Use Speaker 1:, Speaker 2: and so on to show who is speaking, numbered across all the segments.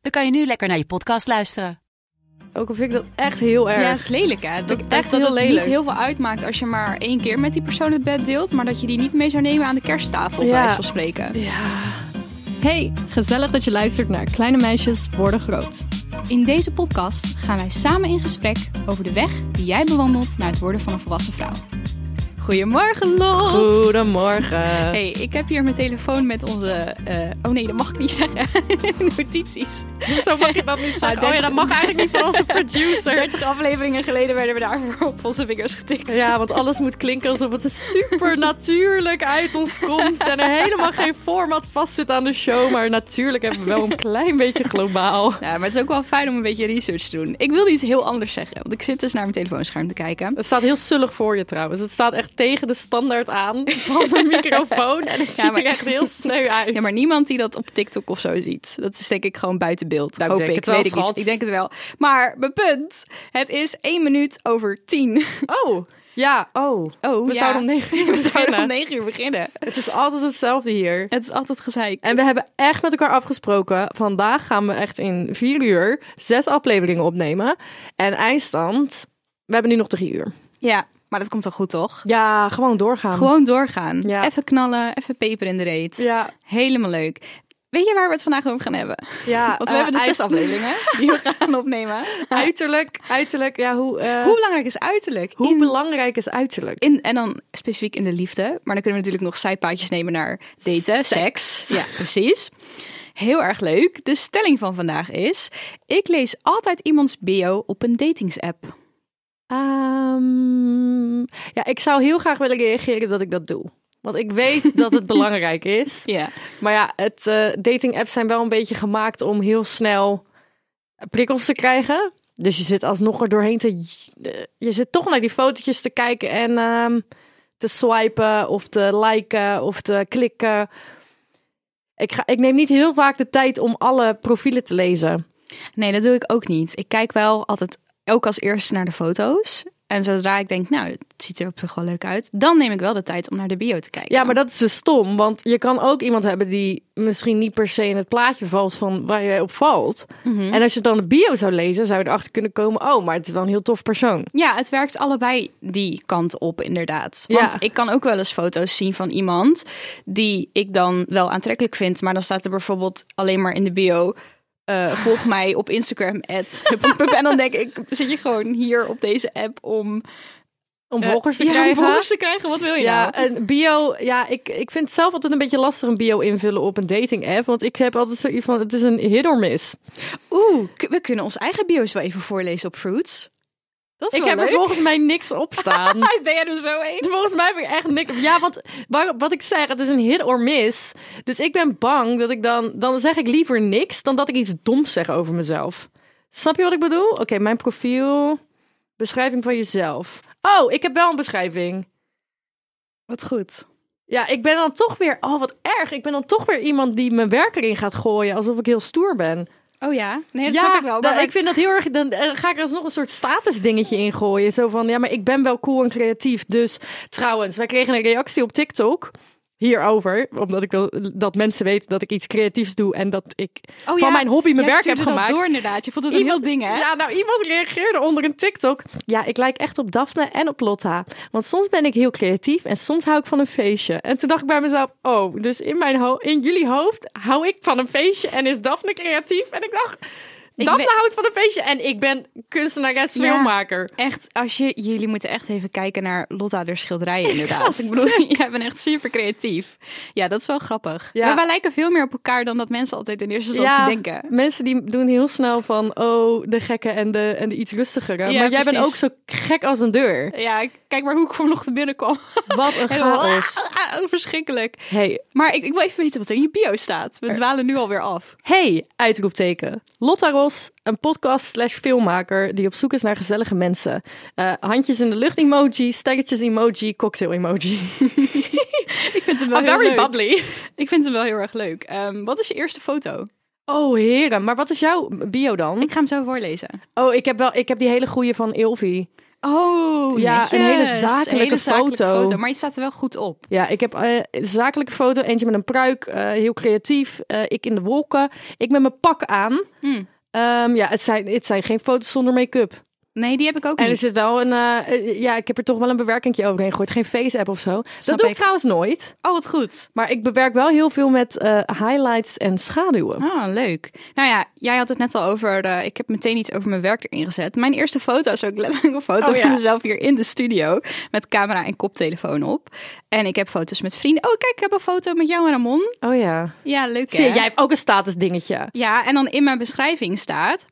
Speaker 1: dan kan je nu lekker naar je podcast luisteren.
Speaker 2: Ook al vind ik dat echt heel erg.
Speaker 3: Ja, is lelijk hè. Dat,
Speaker 2: Vind ik
Speaker 3: dat,
Speaker 2: echt
Speaker 3: dat
Speaker 2: heel
Speaker 3: het
Speaker 2: lelijk.
Speaker 3: niet heel veel uitmaakt als je maar één keer met die persoon het bed deelt, maar dat je die niet mee zou nemen aan de kersttafel,
Speaker 2: Ja.
Speaker 3: bij wijze van spreken.
Speaker 2: Ja.
Speaker 4: Hey, gezellig dat je luistert naar Kleine Meisjes Worden Groot.
Speaker 3: In deze podcast gaan wij samen in gesprek over de weg die jij bewandelt naar het worden van een volwassen vrouw. Goedemorgen, Lot!
Speaker 2: Goedemorgen.
Speaker 3: Hey, ik heb hier mijn telefoon met onze. eh, oh nee, dat mag ik niet zeggen. Notities.
Speaker 2: Zo mag je dat niet zeggen.
Speaker 3: Ah,
Speaker 2: oh ja, dat mag eigenlijk niet van onze producer.
Speaker 3: 30 afleveringen geleden werden we daarvoor op onze vingers getikt.
Speaker 2: Ja, want alles moet klinken alsof het super natuurlijk uit ons komt. En er helemaal geen format vastzit aan de show. Maar natuurlijk hebben we wel een klein beetje globaal.
Speaker 3: Ja, maar het is ook wel fijn om een beetje research te doen. Ik wilde iets heel anders zeggen, want ik zit dus naar mijn telefoonscherm te kijken.
Speaker 2: Het staat heel sullig voor je trouwens. Het staat echt tegen de standaard aan van de microfoon. En het
Speaker 3: Ja,
Speaker 2: ziet
Speaker 3: maar-
Speaker 2: er echt heel sneu uit.
Speaker 3: Ja, maar niemand die dat op TikTok of zo ziet. Dat is denk ik gewoon buiten beeld.
Speaker 2: Nou, ik
Speaker 3: hoop
Speaker 2: denk
Speaker 3: ik.
Speaker 2: het wel,
Speaker 3: Weet ik
Speaker 2: schat.
Speaker 3: niet. Ik denk het wel. Maar mijn punt. Het is 1 minuut over 10.
Speaker 2: Oh, ja, oh.
Speaker 3: Oh,
Speaker 2: We
Speaker 3: ja.
Speaker 2: zouden om negen uur
Speaker 3: We zouden
Speaker 2: beginnen.
Speaker 3: om 9 uur beginnen.
Speaker 2: Het is altijd hetzelfde hier.
Speaker 3: Het is altijd gezeik.
Speaker 2: En we hebben echt met elkaar afgesproken. Vandaag gaan we echt in vier uur zes afleveringen opnemen. En eindstand, we hebben nu nog drie uur.
Speaker 3: Ja, maar dat komt wel goed, toch?
Speaker 2: Ja, gewoon doorgaan.
Speaker 3: Gewoon doorgaan.
Speaker 2: Ja.
Speaker 3: Even knallen, even peper in de reet.
Speaker 2: Ja,
Speaker 3: Helemaal leuk. Weet je waar we het vandaag over gaan hebben?
Speaker 2: ja.
Speaker 3: Want
Speaker 2: eh,
Speaker 3: we hebben dus
Speaker 2: uit-
Speaker 3: zes afleveringen die we gaan opnemen.
Speaker 2: Uiterlijk, uiterlijk. Ja, hoe, eh,
Speaker 3: Hoe belangrijk is uiterlijk?
Speaker 2: hoe
Speaker 3: In-
Speaker 2: belangrijk is uiterlijk?
Speaker 3: In, en dan specifiek in de liefde. Maar dan kunnen we natuurlijk nog zijpaadjes nemen naar daten,
Speaker 2: Seks.
Speaker 3: seks. Ja, precies. Heel erg leuk. De stelling van vandaag is: ik lees altijd iemands bio op een datingsapp.
Speaker 2: Ehm, ja, ik zou heel graag willen reageren dat ik dat doe. Want ik weet dat het belangrijk is.
Speaker 3: Ja.
Speaker 2: Maar ja, het, eh, dating apps zijn wel een beetje gemaakt om heel snel prikkels te krijgen. Dus je zit alsnog er doorheen te... eh, Je zit toch naar die fotootjes te kijken en ehm, te swipen of te liken of te klikken. Ik, ga, ik neem niet heel vaak de tijd om alle profielen te lezen.
Speaker 3: Nee, dat doe ik ook niet. Ik kijk wel altijd ook als eerste naar de foto's. En zodra ik denk, nou, het ziet er op zich wel leuk uit, dan neem ik wel de tijd om naar de bio te kijken.
Speaker 2: Ja, maar dat is dus stom. Want je kan ook iemand hebben die misschien niet per se in het plaatje valt van waar jij op valt.
Speaker 3: Mhm.
Speaker 2: En als je dan de bio zou lezen, zou je erachter kunnen komen... oh, maar het is wel een heel tof persoon.
Speaker 3: Ja, het werkt allebei die kant op, inderdaad.
Speaker 2: Ja.
Speaker 3: Want ik kan ook wel eens foto's zien van iemand die ik dan wel aantrekkelijk vind. Maar dan staat er bijvoorbeeld alleen maar in de bio. eh, volg mij op Instagram. at huppelpup. en dan denk ik, zit je gewoon hier op deze app om eh,
Speaker 2: Om volgers te
Speaker 3: ja, om
Speaker 2: krijgen.
Speaker 3: volgers te krijgen? Wat wil je
Speaker 2: Ja, eh,
Speaker 3: nou?
Speaker 2: een bio. Ja, ik, ik vind het zelf altijd een beetje lastig een bio invullen op een dating app. Want ik heb altijd zoiets van: het is een hit or miss.
Speaker 3: Oeh, k- we kunnen ons eigen bio's wel even voorlezen op Fruits. Dat is
Speaker 2: ik
Speaker 3: wel
Speaker 2: heb er
Speaker 3: leuk.
Speaker 2: volgens mij niks op staan.
Speaker 3: Ben jij er zo een?
Speaker 2: volgens mij heb ik echt niks. Ja, want waar- wat ik zeg, het is een hit or miss. Dus ik ben bang dat ik dan. Dan zeg ik liever niks dan dat ik iets doms zeg over mezelf. Snap je wat ik bedoel? Oké, mijn profiel. Beschrijving van jezelf. Oh, ik heb wel een beschrijving.
Speaker 3: Wat goed.
Speaker 2: Ja, ik ben dan toch weer. Oh, wat erg. Ik ben dan toch weer iemand die mijn werk erin gaat gooien. Alsof ik heel stoer ben.
Speaker 3: Oh ja, nee, dat snap ik wel.
Speaker 2: dan-
Speaker 3: Maar-
Speaker 2: ik vind dat heel erg. Dan eh, ga ik er alsnog een soort statusdingetje in gooien. Zo van ja, maar ik ben wel cool en creatief. Dus trouwens, wij kregen een reactie op TikTok hierover. Omdat ik wil dat mensen weten dat ik iets creatiefs doe en dat ik
Speaker 3: Oh
Speaker 2: van
Speaker 3: ja,
Speaker 2: mijn hobby mijn
Speaker 3: jij
Speaker 2: werk heb
Speaker 3: stuurde dat
Speaker 2: gemaakt.
Speaker 3: door inderdaad. Je vond het een heel ding, hè?
Speaker 2: Ja, nou, iemand reageerde onder een TikTok. Ja, ik lijk echt op Daphne en op Lotta. Want soms ben ik heel creatief en soms hou ik van een feestje. En toen dacht ik bij mezelf, oh, dus in, mijn ho- in jullie hoofd hou ik van een feestje en is Daphne creatief? En ik dacht,
Speaker 3: Ik
Speaker 2: Daphne
Speaker 3: weet-
Speaker 2: houdt van een feestje en ik ben kunstenares,
Speaker 3: Ja.
Speaker 2: filmmaker.
Speaker 3: Echt, als je, jullie moeten echt even kijken naar Lotta de schilderijen inderdaad.
Speaker 2: Gast.
Speaker 3: Ik bedoel, jij bent echt super creatief. Ja, dat is wel grappig.
Speaker 2: Ja.
Speaker 3: Maar wij lijken veel meer op elkaar dan dat mensen altijd in eerste instantie denken.
Speaker 2: mensen die doen heel snel van, oh, de gekke en de, en de iets rustigere.
Speaker 3: Ja,
Speaker 2: maar jij bent ook
Speaker 3: precies.
Speaker 2: zo gek als een deur.
Speaker 3: Ja, kijk maar hoe ik vanochtend binnenkwam.
Speaker 2: Wat een chaos.
Speaker 3: Ah, Verschrikkelijk.
Speaker 2: Hey,
Speaker 3: Maar ik, ik wil even weten wat er in je bio staat. We dwalen nu alweer af.
Speaker 2: hey, uitroepteken. Lotta Ros, een podcast slash filmmaker die op zoek is naar gezellige mensen. Eh, handjes in de lucht emoji, sterretjes emoji, cocktail emoji.
Speaker 3: Ik vind hem wel
Speaker 2: I'm
Speaker 3: heel
Speaker 2: very
Speaker 3: leuk.
Speaker 2: bubbly.
Speaker 3: Oh, Ik vind hem wel heel erg leuk. Ehm, wat is je eerste foto?
Speaker 2: Oh heren, maar wat is jouw bio dan?
Speaker 3: Ik ga hem zo voorlezen.
Speaker 2: Oh, ik heb, wel, ik heb die hele goede van Ilvi.
Speaker 3: Oh,
Speaker 2: Ja,
Speaker 3: netjes.
Speaker 2: een hele zakelijke
Speaker 3: Een hele zakelijke
Speaker 2: foto.
Speaker 3: Maar je staat er wel goed op.
Speaker 2: Ja, ik heb eh, een zakelijke foto, eentje met een pruik, eh, heel creatief. eh, ik in de wolken, ik met mijn pak aan.
Speaker 3: Hm.
Speaker 2: Ehm, ja, het zijn, het zijn geen foto's zonder make-up.
Speaker 3: Nee, die heb ik ook
Speaker 2: En er
Speaker 3: niet.
Speaker 2: zit wel een, eh, eh, ja, ik heb er toch wel een bewerkingje overheen gegooid. Geen face-app of zo. dat doe ik,
Speaker 3: ik.
Speaker 2: trouwens nooit.
Speaker 3: Oh, wat goed.
Speaker 2: Maar ik bewerk wel heel veel met eh, highlights en schaduwen.
Speaker 3: Ah, leuk. Nou ja, jij had het net al over. eh, ik heb meteen iets over mijn werk erin gezet. Mijn eerste foto is ook letterlijk een foto
Speaker 2: Oh, ja.
Speaker 3: van mezelf hier in de studio. Met camera en koptelefoon op. En ik heb foto's met vrienden. Oh, kijk, ik heb een foto met jou en Ramon.
Speaker 2: Oh ja.
Speaker 3: Ja, leuk. Hè?
Speaker 2: Zie je, jij hebt ook een status dingetje.
Speaker 3: Ja, en dan in mijn beschrijving staat.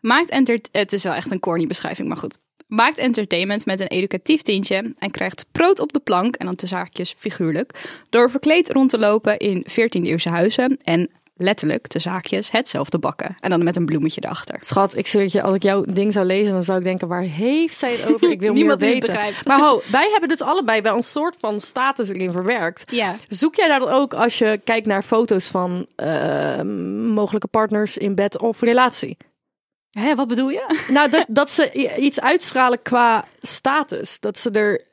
Speaker 3: Maakt enter- het is wel echt een corny beschrijving, maar goed. Maakt entertainment met een educatief tintje en krijgt brood op de plank, en dan tussen haakjes figuurlijk, door verkleed rond te lopen in 14e-eeuwse huizen en letterlijk tussen haakjes hetzelfde bakken. En dan met een bloemetje erachter.
Speaker 2: Schat, ik zweer het je, als ik jouw ding zou lezen, dan zou ik denken, waar heeft zij het over? Ik wil
Speaker 3: Niemand
Speaker 2: meer
Speaker 3: die het
Speaker 2: weten.
Speaker 3: begrijpt.
Speaker 2: Maar ho, wij hebben dus allebei wel een soort van status erin verwerkt.
Speaker 3: Ja.
Speaker 2: Zoek jij daar dan ook als je kijkt naar foto's van eh, mogelijke partners in bed of relatie?
Speaker 3: Hé, wat bedoel je?
Speaker 2: Nou, dat, dat ze i- iets uitstralen qua status. Dat ze er.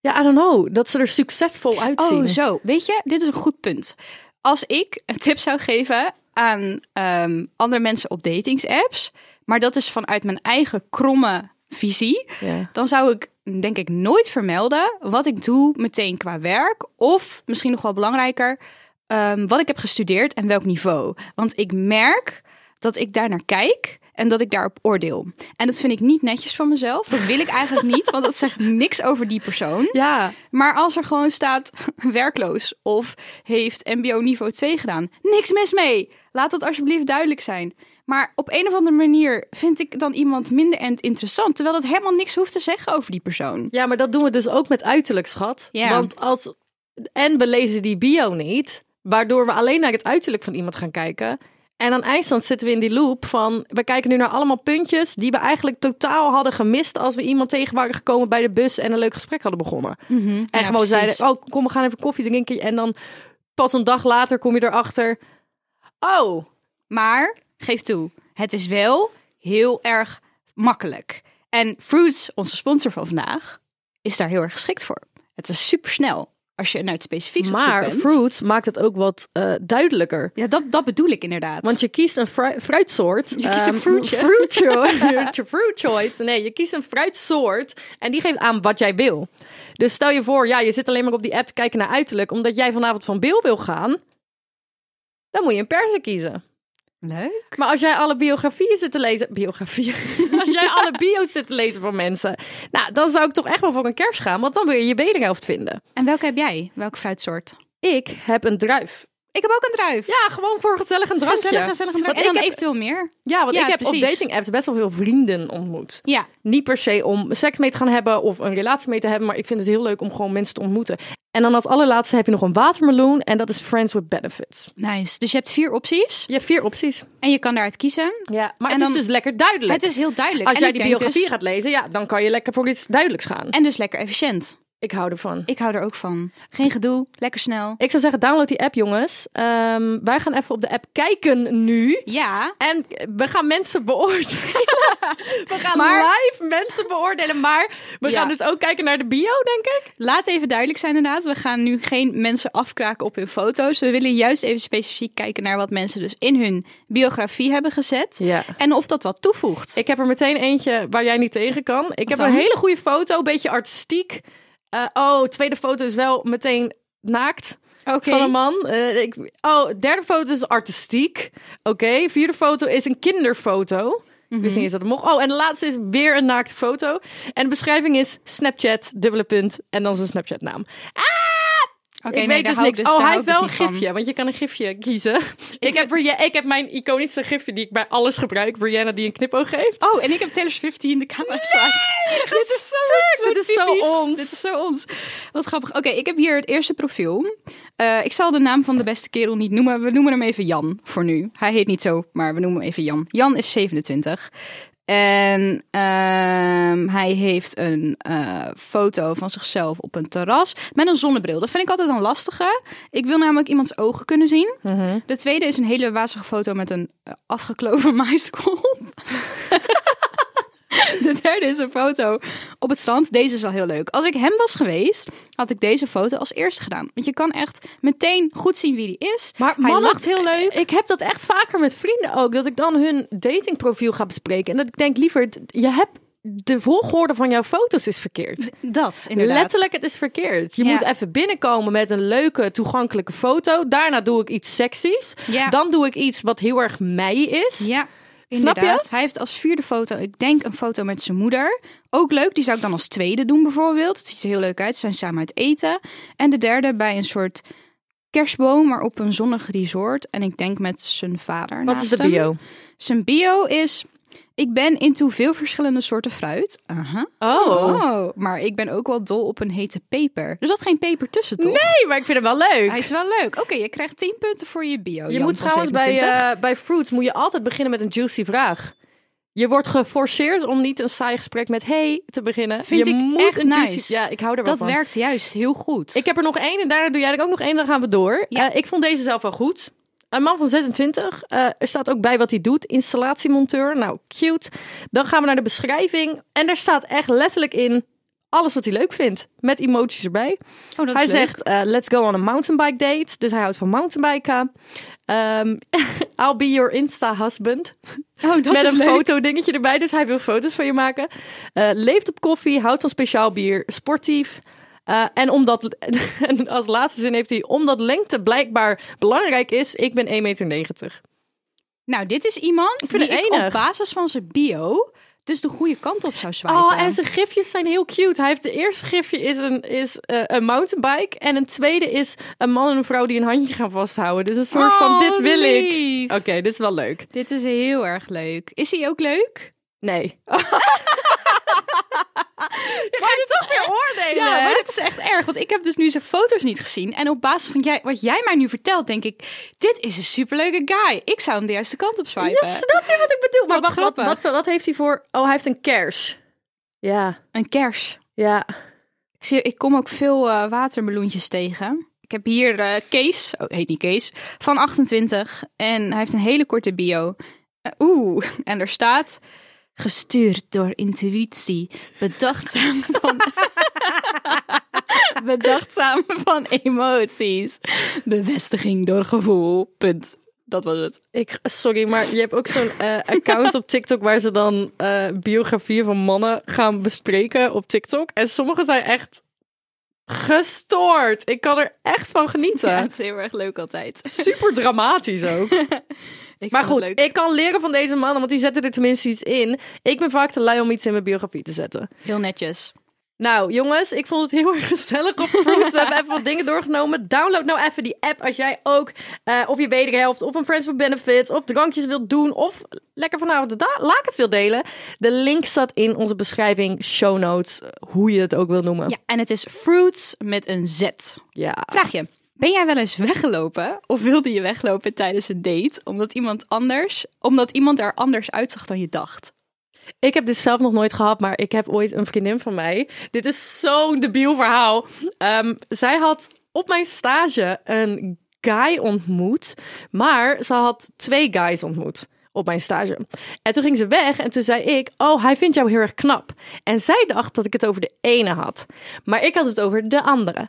Speaker 2: Ja, I don't know. Dat ze er succesvol uitzien.
Speaker 3: Oh, zo. Weet je, dit is een goed punt. Als ik een tip zou geven aan ehm, andere mensen op datingsapps, maar dat is vanuit mijn eigen kromme visie,
Speaker 2: Ja.
Speaker 3: dan zou ik denk ik nooit vermelden wat ik doe meteen qua werk. Of misschien nog wel belangrijker, ehm, wat ik heb gestudeerd en welk niveau. Want ik merk dat ik daar naar kijk en dat ik daarop oordeel. En dat vind ik niet netjes van mezelf. Dat wil ik eigenlijk niet, want dat zegt niks over die persoon.
Speaker 2: ja.
Speaker 3: Maar als er gewoon staat werkloos of heeft MBO niveau 2 gedaan, niks mis mee. Laat dat alsjeblieft duidelijk zijn. Maar op een of andere manier vind ik dan iemand minder en- interessant, terwijl dat helemaal niks hoeft te zeggen over die persoon.
Speaker 2: ja, maar dat doen we dus ook met uiterlijk, schat.
Speaker 3: Ja.
Speaker 2: Want als. En we lezen die bio niet, waardoor we alleen naar het uiterlijk van iemand gaan kijken. En aan eindstand zitten we in die loop van. We kijken nu naar allemaal puntjes die we eigenlijk totaal hadden gemist. als we iemand tegen waren gekomen bij de bus en een leuk gesprek hadden begonnen. En
Speaker 3: Mhm. Ja,
Speaker 2: gewoon
Speaker 3: precies.
Speaker 2: zeiden, oh, kom, we gaan even koffie drinken. En dan pas een dag later kom je erachter. Oh,
Speaker 3: Maar geef toe, het is wel heel erg makkelijk. En Fruits, onze sponsor van vandaag, is daar heel erg geschikt voor. Het is super snel als je naar het specifiek zoekt.
Speaker 2: maar
Speaker 3: bent.
Speaker 2: fruits maakt het ook wat eh, duidelijker.
Speaker 3: Ja, dat, dat bedoel ik inderdaad.
Speaker 2: Want je kiest een fru- fruitsoort.
Speaker 3: Je kiest een
Speaker 2: ehm,
Speaker 3: fruitje.
Speaker 2: fruitje- fruitsoort. Nee, je kiest een fruitsoort. En die geeft aan wat jij wil. Dus stel je voor, ja, je zit alleen maar op die app te kijken naar uiterlijk. Omdat jij vanavond van Bill wil gaan. Dan moet je een persen kiezen.
Speaker 3: Leuk.
Speaker 2: Maar als jij alle biografieën zit te lezen. Biografieën. Als jij alle bio's zit te lezen van mensen. Nou, dan zou ik toch echt wel voor een kers gaan. Want dan wil je je wederhelft vinden.
Speaker 3: En welke heb jij? Welke fruitsoort?
Speaker 2: Ik heb een druif.
Speaker 3: Ik heb ook een druif.
Speaker 2: Ja, gewoon voor gezellig een drankje.
Speaker 3: gezellig, gezellig. een druif.
Speaker 2: Want ik
Speaker 3: En dan
Speaker 2: heb-
Speaker 3: eventueel meer.
Speaker 2: Ja, want
Speaker 3: Ja,
Speaker 2: ik heb op
Speaker 3: precies.
Speaker 2: dating apps best wel veel vrienden ontmoet.
Speaker 3: Ja.
Speaker 2: Niet per se om seks mee te gaan hebben of een relatie mee te hebben. Maar ik vind het heel leuk om gewoon mensen te ontmoeten. En dan als allerlaatste heb je nog een watermeloen. En dat is Friends with Benefits.
Speaker 3: Nice. Dus je hebt vier opties
Speaker 2: Je hebt vier opties.
Speaker 3: en je kan daaruit kiezen.
Speaker 2: Ja, maar
Speaker 3: En
Speaker 2: het
Speaker 3: dan-
Speaker 2: is dus lekker duidelijk.
Speaker 3: Het is heel duidelijk.
Speaker 2: Als
Speaker 3: En
Speaker 2: jij
Speaker 3: ik
Speaker 2: die
Speaker 3: denk
Speaker 2: biografie
Speaker 3: dus-
Speaker 2: gaat lezen, ja, dan kan je lekker voor iets duidelijks gaan.
Speaker 3: En dus lekker efficiënt.
Speaker 2: Ik hou ervan.
Speaker 3: Ik hou er ook van. Geen gedoe, lekker snel.
Speaker 2: Ik zou zeggen, download die app, jongens. Ehm, wij gaan even op de app kijken nu.
Speaker 3: Ja.
Speaker 2: En we gaan mensen beoordelen. We gaan
Speaker 3: Maar-
Speaker 2: live mensen beoordelen. Maar we
Speaker 3: Ja.
Speaker 2: gaan dus ook kijken naar de bio, denk ik.
Speaker 3: Laat even duidelijk zijn inderdaad. We gaan nu geen mensen afkraken op hun foto's. We willen juist even specifiek kijken naar wat mensen dus in hun biografie hebben gezet.
Speaker 2: Ja.
Speaker 3: En of dat wat toevoegt.
Speaker 2: Ik heb er meteen eentje waar jij niet tegen kan. Ik heb
Speaker 3: dan?
Speaker 2: een hele goede foto, een beetje artistiek. Eh, oh, tweede foto is wel meteen naakt.
Speaker 3: Oké.
Speaker 2: van een man. Eh, ik, oh, derde foto is artistiek. Oké, vierde foto is een kinderfoto.
Speaker 3: Mhm.
Speaker 2: Ik wist niet eens dat het mocht. Oh, en de laatste is weer een naakte foto. En de beschrijving is Snapchat, dubbele punt, en dan zijn Snapchat naam.
Speaker 3: Ah, Oké,
Speaker 2: ik
Speaker 3: nee,
Speaker 2: weet
Speaker 3: daar
Speaker 2: dus
Speaker 3: hou ik
Speaker 2: niks. oh,
Speaker 3: daar
Speaker 2: hij
Speaker 3: hou
Speaker 2: heeft
Speaker 3: ik dus
Speaker 2: wel een
Speaker 3: niet van.
Speaker 2: gifje, want je kan een gifje kiezen. Ik heb, Ria- ik heb mijn iconische gifje die ik bij alles gebruik. Brianna die een knipoog geeft.
Speaker 3: Oh, en ik heb Taylor Swift die in de camera staat. Dit is zo,
Speaker 2: Dit is zo
Speaker 3: typisch.
Speaker 2: ons.
Speaker 3: Dit is zo ons. Wat grappig. Oké, ik heb hier het eerste profiel. Eh, ik zal de naam van de beste kerel niet noemen. We noemen hem even Jan voor nu. Hij heet niet zo, maar we noemen hem even Jan. Jan is 27. En ehm, hij heeft een eh, foto van zichzelf op een terras met een zonnebril. Dat vind ik altijd een lastige. Ik wil namelijk iemands ogen kunnen zien. De tweede is een hele wazige foto met een eh, afgekloven maïskop. De derde is een foto op het strand. Deze is wel heel leuk. Als ik hem was geweest, had ik deze foto als eerste gedaan. Want je kan echt meteen goed zien wie die is.
Speaker 2: Maar
Speaker 3: Hij
Speaker 2: mannen- Eh,
Speaker 3: lacht heel leuk.
Speaker 2: Ik heb dat echt vaker met vrienden ook. Dat ik dan hun datingprofiel ga bespreken. En dat ik denk, liever, je hebt... De volgorde van jouw foto's is verkeerd.
Speaker 3: Dat, inderdaad.
Speaker 2: Letterlijk, het is verkeerd. Je
Speaker 3: Ja.
Speaker 2: moet even binnenkomen met een leuke, toegankelijke foto. Daarna doe ik iets seksies.
Speaker 3: Ja.
Speaker 2: Dan doe ik iets wat heel erg mij is.
Speaker 3: Ja.
Speaker 2: Snap je?
Speaker 3: inderdaad. Hij heeft als vierde foto, ik denk een foto met zijn moeder. Ook leuk, die zou ik dan als tweede doen bijvoorbeeld. Het ziet er heel leuk uit, ze zijn samen uit eten. En de derde bij een soort kerstboom, maar op een zonnig resort. En ik denk met zijn vader
Speaker 2: Wat is
Speaker 3: naast
Speaker 2: de
Speaker 3: hem.
Speaker 2: bio?
Speaker 3: Zijn bio is... Ik ben into veel verschillende soorten fruit. Aha.
Speaker 2: Oh.
Speaker 3: Oh, maar ik ben ook wel dol op een hete peper. Er zat geen peper tussen, toch?
Speaker 2: Nee, maar ik vind hem wel leuk.
Speaker 3: Hij is wel leuk. Oké, je krijgt 10 punten voor je bio.
Speaker 2: je
Speaker 3: Jan
Speaker 2: moet
Speaker 3: van
Speaker 2: trouwens bij,
Speaker 3: 27.
Speaker 2: eh, bij Fruits moet je altijd beginnen met een juicy vraag. Je wordt geforceerd om niet een saai gesprek met hey te beginnen.
Speaker 3: Vind
Speaker 2: je
Speaker 3: ik
Speaker 2: moet
Speaker 3: echt
Speaker 2: een
Speaker 3: nice.
Speaker 2: juicy... Ja, ik hou er wel
Speaker 3: Dat
Speaker 2: van.
Speaker 3: werkt juist heel goed.
Speaker 2: Ik heb er nog één en daarna doe jij er ook nog één. Dan gaan we door.
Speaker 3: Ja.
Speaker 2: Eh, ik vond deze zelf wel goed. Een man van 26. eh, er staat ook bij wat hij doet. Installatiemonteur. Nou, cute. Dan gaan we naar de beschrijving. En daar staat echt letterlijk in alles wat hij leuk vindt. Met emoties erbij.
Speaker 3: oh, dat
Speaker 2: hij
Speaker 3: is leuk.
Speaker 2: zegt, eh, let's go on a mountainbike date. Dus hij houdt van mountainbiken. Ehm, I'll be your Insta husband.
Speaker 3: Oh, dat
Speaker 2: Met
Speaker 3: is
Speaker 2: een
Speaker 3: leuk.
Speaker 2: foto dingetje erbij. Dus hij wil foto's van je maken. Eh, leeft op koffie, houdt van speciaal bier, sportief. Eh, en, omdat, en als laatste zin heeft hij, omdat lengte blijkbaar belangrijk is, ik ben 1,90 meter.
Speaker 3: Nou, dit is iemand
Speaker 2: vind het
Speaker 3: die ik
Speaker 2: enig.
Speaker 3: op basis van zijn bio dus de goede kant op zou swipen.
Speaker 2: Oh, en zijn gifjes zijn heel cute. Hij heeft de eerste gifje is een, is, eh, een mountainbike. En een tweede is een man en een vrouw die een handje gaan vasthouden. Dus een soort van,
Speaker 3: Oh,
Speaker 2: dit wil ik.
Speaker 3: lief.
Speaker 2: Oké, dit is wel leuk.
Speaker 3: Dit is heel erg leuk. Is hij ook leuk?
Speaker 2: Nee. Je gaat het toch weer oordelen.
Speaker 3: Ja, maar dit is echt erg, want ik heb dus nu zijn foto's niet gezien. En op basis van jij, wat jij mij nu vertelt, denk ik... Dit is een superleuke guy. Ik zou hem de juiste kant op swipen.
Speaker 2: Ja, snap je wat ik bedoel? Maar
Speaker 3: Wat
Speaker 2: wacht, wat,
Speaker 3: grappig.
Speaker 2: wat, wat heeft hij voor... Oh, hij heeft een kers. Ja,
Speaker 3: Een kers.
Speaker 2: ja.
Speaker 3: Ik, zie, ik kom ook veel eh, watermeloentjes tegen. Ik heb hier eh, Kees, oh, heet niet Kees, van 28. En hij heeft een hele korte bio. Eh, Oeh, en er staat... Gestuurd door intuïtie, bedachtzaam van, bedachtzaam van emoties, bevestiging door gevoel, punt. Dat was het.
Speaker 2: Ik, sorry, maar je hebt ook zo'n eh, account op TikTok waar ze dan eh, biografieën van mannen gaan bespreken op TikTok. En sommige zijn echt gestoord. Ik kan er echt van genieten.
Speaker 3: Ja, het is heel erg leuk altijd.
Speaker 2: Super dramatisch ook.
Speaker 3: Ik
Speaker 2: Maar
Speaker 3: vond het
Speaker 2: goed,
Speaker 3: leuk.
Speaker 2: ik kan leren van deze mannen, want die zetten er tenminste iets in. Ik ben vaak te lui om iets in mijn biografie te zetten.
Speaker 3: heel netjes.
Speaker 2: Nou, jongens, ik vond het heel erg gezellig op Fruits. We hebben even wat dingen doorgenomen. Download nou even die app als jij ook eh, of je wederhelft of een Friends for Benefits of drankjes wilt doen of lekker vanavond de da- laak het wilt delen. De link staat in onze beschrijving, show notes, eh, hoe je het ook wil noemen.
Speaker 3: Ja, en het is fruits met een z.
Speaker 2: ja.
Speaker 3: Vraag je, ben jij wel eens weggelopen of wilde je weglopen tijdens een date omdat iemand anders, omdat iemand er anders uitzag dan je dacht?
Speaker 2: Ik heb dit zelf nog nooit gehad, maar ik heb ooit een vriendin van mij. Dit is zo'n debiel verhaal. Ehm, zij had op mijn stage een guy ontmoet, maar ze had twee guys ontmoet op mijn stage. En toen ging ze weg en toen zei ik, oh, hij vindt jou heel erg knap. En zij dacht dat ik het over de ene had, maar ik had het over de andere.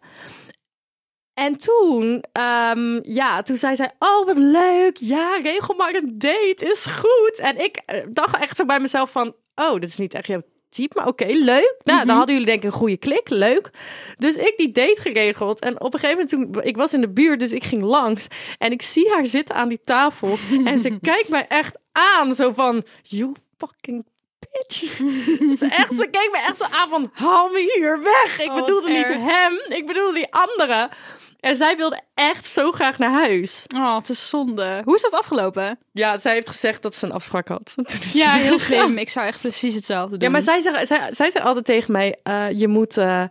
Speaker 2: En toen, ehm, ja, toen zei zij, oh wat leuk, ja, regel maar een date, is goed. En ik eh, dacht echt zo bij mezelf van, oh, dit is niet echt jouw type. Maar oké, leuk. Nou, dan hadden jullie denk ik een goede klik. Leuk. Dus ik die date geregeld. En op een gegeven moment toen... Ik was in de buurt, dus ik ging langs. En ik zie haar zitten aan die tafel. en ze kijkt mij echt aan. Zo van... You fucking bitch. ze, echt, ze keek me echt zo aan van... Haal me hier weg. Ik
Speaker 3: Oh, wat
Speaker 2: bedoelde niet
Speaker 3: erg.
Speaker 2: hem. Ik bedoelde die andere. En zij wilde echt zo graag naar huis.
Speaker 3: Oh, het is zonde. Hoe is dat afgelopen?
Speaker 2: Ja, zij heeft gezegd dat ze een afspraak had. Toen is
Speaker 3: Ja,
Speaker 2: ze
Speaker 3: heel
Speaker 2: weggegaan.
Speaker 3: slim. Ik zou echt precies hetzelfde doen.
Speaker 2: Ja, maar zij zegt, zij, zij zegt altijd tegen mij: eh, je moet. eh,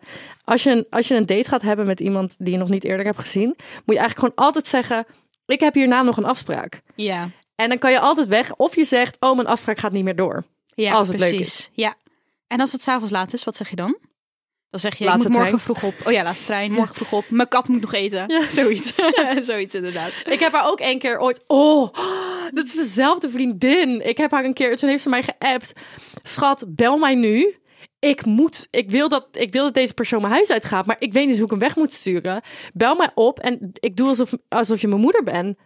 Speaker 2: als, je een, als je een date gaat hebben met iemand die je nog niet eerder hebt gezien, moet je eigenlijk gewoon altijd zeggen: Ik heb hierna nog een afspraak.
Speaker 3: Ja,
Speaker 2: En dan kan je altijd weg. Of je zegt: Oh, mijn afspraak gaat niet meer door.
Speaker 3: ja
Speaker 2: Als het leuk
Speaker 3: precies. Ja. En als het s'avonds laat is, wat zeg je dan? Dan zeg je,
Speaker 2: Laatste
Speaker 3: ik moet morgen
Speaker 2: trein.
Speaker 3: vroeg op. Oh ja, laatste trein, morgen vroeg op. Mijn kat moet nog eten. Zoiets. Zoiets inderdaad.
Speaker 2: Ik heb haar ook één keer ooit. Oh, dat is dezelfde vriendin. Ik heb haar een keer. Toen heeft ze mij geappt. Schat, bel mij nu. Ik moet. Ik wil dat. Ik wil dat deze persoon mijn huis uitgaat. Maar ik weet niet hoe ik hem weg moet sturen. Bel mij op en ik doe alsof, alsof je mijn moeder bent.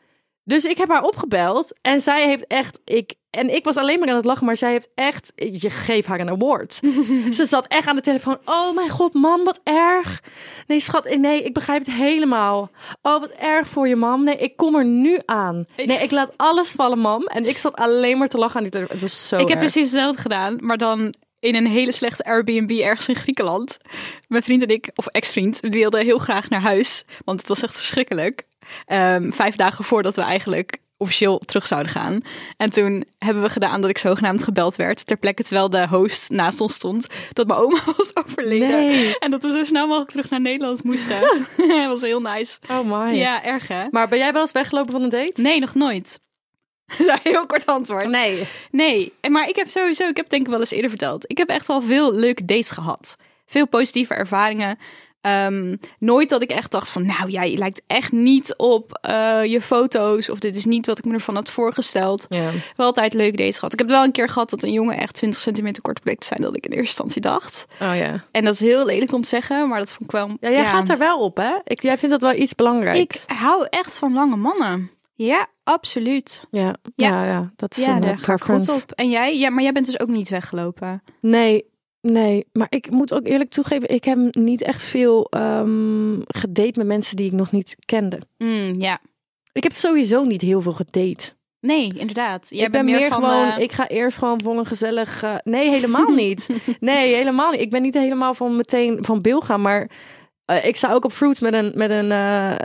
Speaker 2: Dus ik heb haar opgebeld en zij heeft echt. Ik, en ik was alleen maar aan het lachen, maar zij heeft echt. Je geeft haar een award. Ze zat echt aan de telefoon. Oh mijn god, mam, wat erg. Nee, schat, nee, ik begrijp het helemaal. Oh, wat erg voor je, mam. Nee, ik kom er nu aan. Nee, ik laat alles vallen, mam. En ik zat alleen maar te lachen aan die telefoon. Het was zo.
Speaker 3: ik
Speaker 2: erg.
Speaker 3: heb precies hetzelfde gedaan, maar dan in een hele slechte Airbnb ergens in Griekenland. Mijn vriend en ik, of ex-vriend, we wilden heel graag naar huis, want het was echt verschrikkelijk. Ehm, vijf dagen voordat we eigenlijk officieel terug zouden gaan. En toen hebben we gedaan dat ik zogenaamd gebeld werd ter plekke terwijl de host naast ons stond dat mijn oma was overleden
Speaker 2: Nee.
Speaker 3: en dat we zo snel mogelijk terug naar Nederland moesten. dat was heel nice.
Speaker 2: Oh my.
Speaker 3: Ja, erg hè?
Speaker 2: Maar ben jij wel eens weggelopen van een date?
Speaker 3: Nee, nog nooit. Dat is een heel kort antwoord.
Speaker 2: Nee.
Speaker 3: Nee, en maar ik heb sowieso, ik heb denk ik wel eens eerder verteld. Ik heb echt al veel leuke dates gehad. Veel positieve ervaringen. Ehm, nooit dat ik echt dacht van, nou jij lijkt echt niet op eh, je foto's. Of dit is niet wat ik me ervan had voorgesteld.
Speaker 2: Ja.
Speaker 3: Wel altijd leuke dates gehad. Ik heb wel een keer gehad dat een jongen echt 20 centimeter korter bleek te zijn dan ik in eerste instantie dacht.
Speaker 2: Oh ja.
Speaker 3: En dat is heel lelijk om te zeggen, maar dat vond ik wel...
Speaker 2: Ja, jij gaat daar wel op, hè? Ik, jij vindt dat wel iets belangrijks.
Speaker 3: Ik hou echt van lange mannen. Ja, absoluut.
Speaker 2: Ja.
Speaker 3: Ja.
Speaker 2: Ja. ja, Dat is
Speaker 3: Ja,
Speaker 2: een
Speaker 3: daar
Speaker 2: eh,
Speaker 3: ga ik goed
Speaker 2: preference.
Speaker 3: op. En jij? Ja, maar jij bent dus ook niet weggelopen.
Speaker 2: Nee, nee. Maar ik moet ook eerlijk toegeven, ik heb niet echt veel ehm gedate met mensen die ik nog niet kende.
Speaker 3: Mm, ja.
Speaker 2: Ik heb sowieso niet heel veel gedate.
Speaker 3: Nee, inderdaad. Jij
Speaker 2: ik ben meer,
Speaker 3: van
Speaker 2: gewoon,
Speaker 3: eh,
Speaker 2: ik ga eerst gewoon voor een gezellig... eh, nee, helemaal niet. nee, helemaal niet. Ik ben niet helemaal van meteen van bil gaan, maar... eh, ik sta ook op fruit met een, met een eh,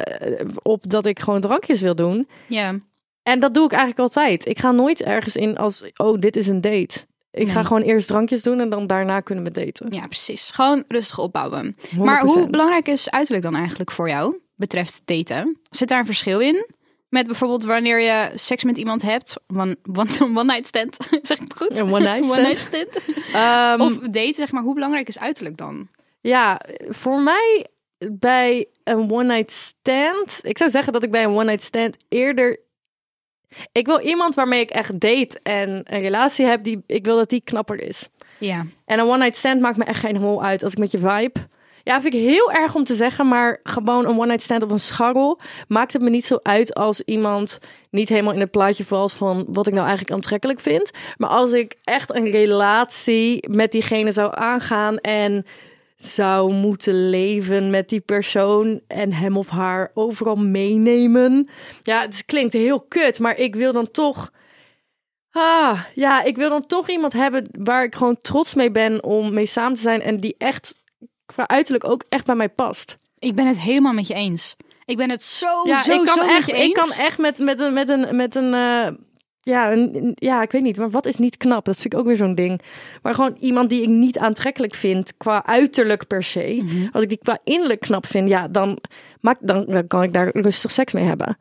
Speaker 2: op dat ik gewoon drankjes wil doen.
Speaker 3: ja.
Speaker 2: En dat doe ik eigenlijk altijd. Ik ga nooit ergens in als, oh, dit is een date. Ik ga
Speaker 3: Nee.
Speaker 2: gewoon eerst drankjes doen en dan daarna kunnen we daten.
Speaker 3: ja, precies. Gewoon rustig opbouwen. Maar hoe
Speaker 2: 100%.
Speaker 3: belangrijk is uiterlijk dan eigenlijk voor jou, betreft daten? Zit daar een verschil in? Met bijvoorbeeld wanneer je seks met iemand hebt, one, one, one night stand, zeg ik het goed?
Speaker 2: Een one night stand.
Speaker 3: stand.
Speaker 2: Ehm,
Speaker 3: Of daten, zeg maar, hoe belangrijk is uiterlijk dan?
Speaker 2: Ja, voor mij bij een one night stand. Ik zou zeggen dat ik bij een one night stand eerder. Ik wil iemand waarmee ik echt date en een relatie heb. Die, ik wil dat die knapper is.
Speaker 3: Ja,
Speaker 2: En een one night stand maakt me echt geen hol uit als ik met je vibe. Ja, vind ik heel erg om te zeggen, maar gewoon een one night stand of een scharrel maakt het me niet zo uit als iemand niet helemaal in het plaatje valt van wat ik nou eigenlijk aantrekkelijk vind. Maar als ik echt een relatie met diegene zou aangaan en zou moeten leven met die persoon en hem of haar overal meenemen. Ja, het klinkt heel kut, maar ik wil dan toch. Ah, ja, ik wil dan toch iemand hebben waar ik gewoon trots mee ben om mee samen te zijn en die echt qua uiterlijk ook echt bij mij past.
Speaker 3: ik ben het helemaal met je eens. Ik ben het zo,
Speaker 2: ja,
Speaker 3: Oh, zo,
Speaker 2: ik kan
Speaker 3: zo met
Speaker 2: echt,
Speaker 3: je
Speaker 2: ik
Speaker 3: eens.
Speaker 2: kan echt met, met een, met een, met een, eh, ja, een, ja, ik weet niet, maar wat is niet knap? Dat vind ik ook weer zo'n ding. Maar gewoon iemand die ik niet aantrekkelijk vind qua uiterlijk per se.
Speaker 3: Mhm.
Speaker 2: Als ik die qua innerlijk knap vind, ja, dan, maak, dan, dan kan ik daar rustig seks mee hebben.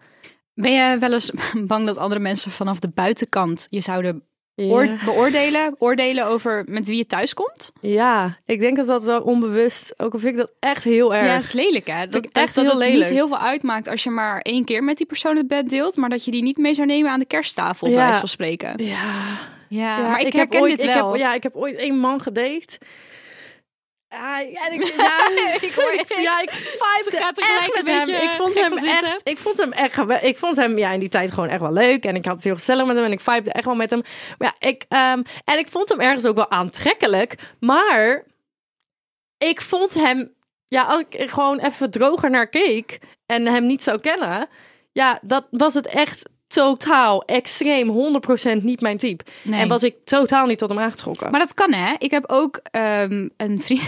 Speaker 3: Ben je wel eens bang dat andere mensen vanaf de buitenkant je zouden oor-
Speaker 2: Ja.
Speaker 3: beoordelen, oordelen over met wie je thuis komt?
Speaker 2: ja, ik denk dat dat wel onbewust, ook al vind ik dat echt heel erg.
Speaker 3: Ja, is lelijk hè.
Speaker 2: Vind
Speaker 3: Dat, dat,
Speaker 2: ik echt
Speaker 3: dat
Speaker 2: heel
Speaker 3: het
Speaker 2: lelijk.
Speaker 3: niet heel veel uitmaakt als je maar één keer met die persoon het bed deelt, maar dat je die niet mee zou nemen aan de kersttafel, bij
Speaker 2: Ja.
Speaker 3: wijze van spreken.
Speaker 2: Ja.
Speaker 3: Ja,
Speaker 2: Ja,
Speaker 3: maar ik,
Speaker 2: heb
Speaker 3: herken
Speaker 2: ooit,
Speaker 3: dit wel.
Speaker 2: Ik heb, ja, ik heb ooit één man gedate. Ja, Ah, ja, ik, ja, ik, hoor
Speaker 3: niks.
Speaker 2: ja, ik
Speaker 3: Ze
Speaker 2: vibe
Speaker 3: gaat
Speaker 2: er
Speaker 3: tegelijk
Speaker 2: echt
Speaker 3: een
Speaker 2: met hem.
Speaker 3: beetje
Speaker 2: Ik vond
Speaker 3: gek
Speaker 2: hem,
Speaker 3: van zitten.
Speaker 2: echt, ik vond hem echt, gewe- ik vond hem ja, in die tijd gewoon echt wel leuk. En ik had het heel gezellig met hem en ik vibede echt wel met hem. Maar ja, ik, ehm, en ik vond hem ergens ook wel aantrekkelijk. Maar ik vond hem, ja, als ik er gewoon even droger naar keek en hem niet zou kennen. Ja, dat was het echt totaal, extreem, 100% niet mijn type.
Speaker 3: Nee.
Speaker 2: En was ik totaal niet tot hem aangetrokken.
Speaker 3: Maar dat kan, hè? Ik heb ook ehm, een vriend.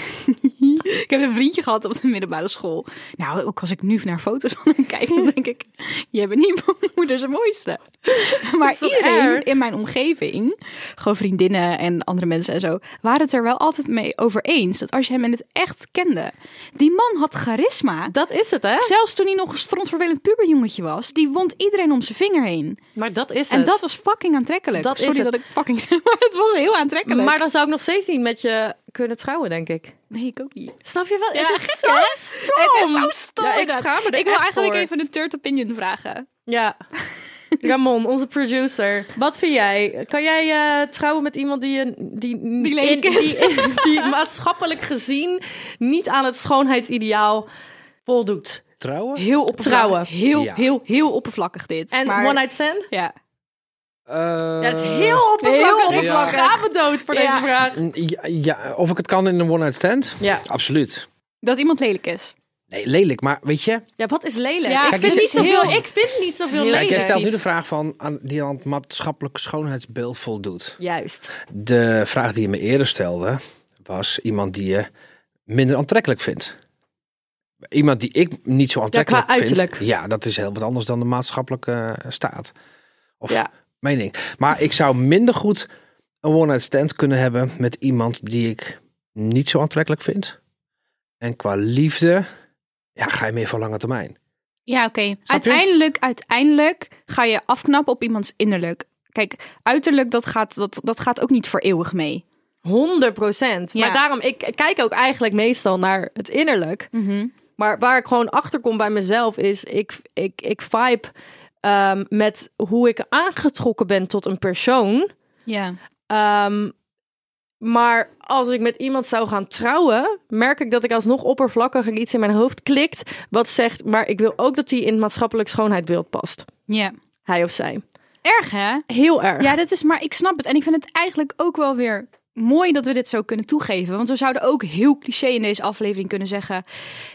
Speaker 3: ik heb een vriendje gehad op de middelbare school. Nou, ook als ik nu naar foto's van hem kijk, dan denk ik: Jij bent niet mijn moeder zijn mooiste. Maar
Speaker 2: toch
Speaker 3: iedereen
Speaker 2: erg?
Speaker 3: in mijn omgeving, gewoon vriendinnen en andere mensen en zo, waren het er wel altijd mee over eens dat als je hem in het echt kende, die man had charisma.
Speaker 2: dat is het, hè?
Speaker 3: Zelfs toen hij nog een strontvervelend puberjongetje was, die wond iedereen om zijn vinger heen.
Speaker 2: Maar dat is
Speaker 3: En
Speaker 2: het.
Speaker 3: dat was fucking aantrekkelijk.
Speaker 2: Dat is
Speaker 3: Sorry
Speaker 2: het.
Speaker 3: dat ik fucking zeg, maar het was heel aantrekkelijk.
Speaker 2: Maar dan zou ik nog steeds niet met je kunnen trouwen, denk ik.
Speaker 3: nee, ik ook niet.
Speaker 2: Snap je wel?
Speaker 3: Ja,
Speaker 2: het is
Speaker 3: gek,
Speaker 2: zo
Speaker 3: hè?
Speaker 2: stom.
Speaker 3: Het is zo stom.
Speaker 2: Ja, ik
Speaker 3: inderdaad.
Speaker 2: schaam me er
Speaker 3: Ik wil
Speaker 2: echt
Speaker 3: eigenlijk
Speaker 2: voor.
Speaker 3: even een third opinion vragen.
Speaker 2: Ja. Ramon, onze producer. Wat vind jij? Kan jij eh, trouwen met iemand die, je- die,
Speaker 3: Die lelijk
Speaker 2: in-
Speaker 3: is.
Speaker 2: Die, die maatschappelijk gezien niet aan het schoonheidsideaal voldoet?
Speaker 5: Trouwen?
Speaker 3: Heel oppervlakkig.
Speaker 2: Trouwen.
Speaker 3: Heel,
Speaker 5: Ja.
Speaker 3: heel, heel oppervlakkig dit.
Speaker 2: En
Speaker 3: maar,
Speaker 2: one night stand?
Speaker 3: Ja.
Speaker 5: Eh,
Speaker 2: Ja, het is heel oppervlakkig.
Speaker 3: heel
Speaker 5: oppervlakkig.
Speaker 2: Ik schaam me dood voor
Speaker 3: Ja.
Speaker 2: deze vraag.
Speaker 5: Ja, ja, of ik het kan in een one-night stand?
Speaker 2: Ja.
Speaker 5: Absoluut.
Speaker 3: Dat iemand lelijk is.
Speaker 5: Nee, lelijk, maar weet je...
Speaker 2: ja, wat is lelijk?
Speaker 3: Ja,
Speaker 2: ik,
Speaker 5: kijk,
Speaker 2: vind
Speaker 5: dit
Speaker 2: niet
Speaker 5: is
Speaker 2: zoveel,
Speaker 3: heel-
Speaker 2: ik vind niet zoveel
Speaker 3: Heel
Speaker 5: Kijk, jij
Speaker 2: lelijk.
Speaker 5: stelt nu de vraag van... Aan, die aan het maatschappelijk schoonheidsbeeld voldoet.
Speaker 2: Juist.
Speaker 5: De vraag die je me eerder stelde... was iemand die je minder aantrekkelijk vindt. Iemand die ik niet zo aantrekkelijk
Speaker 2: qua uiterlijk.
Speaker 5: vind. Ja, dat is heel wat anders dan de maatschappelijke eh, staat. Of
Speaker 2: Ja.
Speaker 5: mening. Maar ik zou minder goed een one-night stand kunnen hebben met iemand die ik niet zo aantrekkelijk vind. En qua liefde, ja, ga je meer voor lange termijn.
Speaker 3: Ja, oké.
Speaker 5: je?
Speaker 3: Uiteindelijk, uiteindelijk ga je afknappen op iemands innerlijk. Kijk, uiterlijk, dat gaat, dat, dat gaat ook niet voor eeuwig mee.
Speaker 2: 100 procent.
Speaker 3: Ja.
Speaker 2: Maar daarom, ik kijk ook eigenlijk meestal naar het innerlijk. Maar waar ik gewoon achter kom bij mezelf is, ik, ik, ik vibe ehm, met hoe ik aangetrokken ben tot een persoon.
Speaker 3: Ja.
Speaker 2: Ehm, maar als ik met iemand zou gaan trouwen, merk ik dat ik alsnog oppervlakkiger iets in mijn hoofd klikt. Wat zegt, maar ik wil ook dat hij in het maatschappelijk schoonheidbeeld past.
Speaker 3: Ja.
Speaker 2: Hij of zij.
Speaker 3: Erg, hè?
Speaker 2: Heel erg.
Speaker 3: Ja, dat is, maar ik snap het. En ik vind het eigenlijk ook wel weer mooi dat we dit zo kunnen toegeven. Want we zouden ook heel cliché in deze aflevering kunnen zeggen: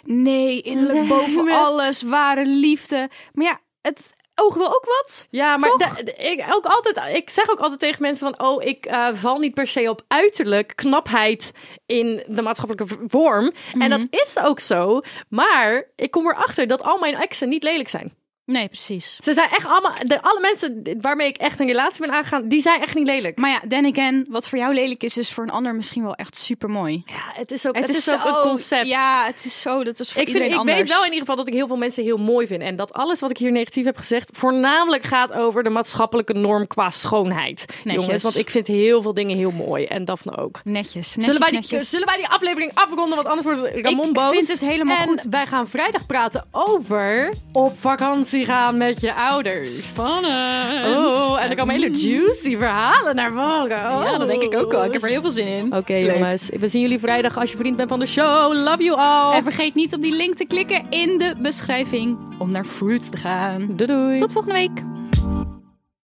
Speaker 3: nee, innerlijk boven
Speaker 2: maar-
Speaker 3: alles, ware liefde. Maar ja, het oog wil ook wat.
Speaker 2: Ja, maar
Speaker 3: Toch?
Speaker 2: da- d- ik, ook altijd, ik zeg ook altijd tegen mensen van... oh, ik eh, val niet per se op uiterlijk knapheid in de maatschappelijke v- vorm. En dat is ook zo. Maar ik kom erachter dat al mijn exen niet lelijk zijn.
Speaker 3: Nee, precies.
Speaker 2: Ze zijn echt allemaal... De, alle mensen waarmee ik echt een relatie ben aangegaan... die zijn echt niet lelijk.
Speaker 3: Maar ja, then again, wat voor jou lelijk is, is voor een ander misschien wel echt super mooi.
Speaker 2: Ja, het is ook, het is ook
Speaker 3: zo- oh,
Speaker 2: een concept.
Speaker 3: Ja, het is zo. Dat is voor
Speaker 2: Ik, vind,
Speaker 3: iedereen
Speaker 2: ik
Speaker 3: anders.
Speaker 2: weet wel in ieder geval dat ik heel veel mensen heel mooi vind. En dat alles wat ik hier negatief heb gezegd... voornamelijk gaat over de maatschappelijke norm qua schoonheid.
Speaker 3: Netjes.
Speaker 2: Jongens, want ik vind heel veel dingen heel mooi. En Daphne ook.
Speaker 3: Netjes, netjes,
Speaker 2: Zullen wij, die,
Speaker 3: netjes.
Speaker 2: zullen wij die aflevering afronden? Want anders wordt Ramon
Speaker 3: Ik
Speaker 2: boos.
Speaker 3: vind het helemaal
Speaker 2: en
Speaker 3: goed.
Speaker 2: wij gaan vrijdag praten over op vakantie gaan met je ouders.
Speaker 3: Spannend. Mm.
Speaker 2: Oh, en er komen hele juicy verhalen naar voren.
Speaker 3: Ja, dat denk ik ook wel. Ik heb er heel veel zin in.
Speaker 2: Oké
Speaker 3: Leuk.
Speaker 2: jongens, we zien jullie vrijdag als je vriend bent van de show. Love you all.
Speaker 3: En vergeet niet op die link te klikken in de beschrijving om naar Fruits te gaan.
Speaker 2: Doei doei.
Speaker 3: Tot volgende week.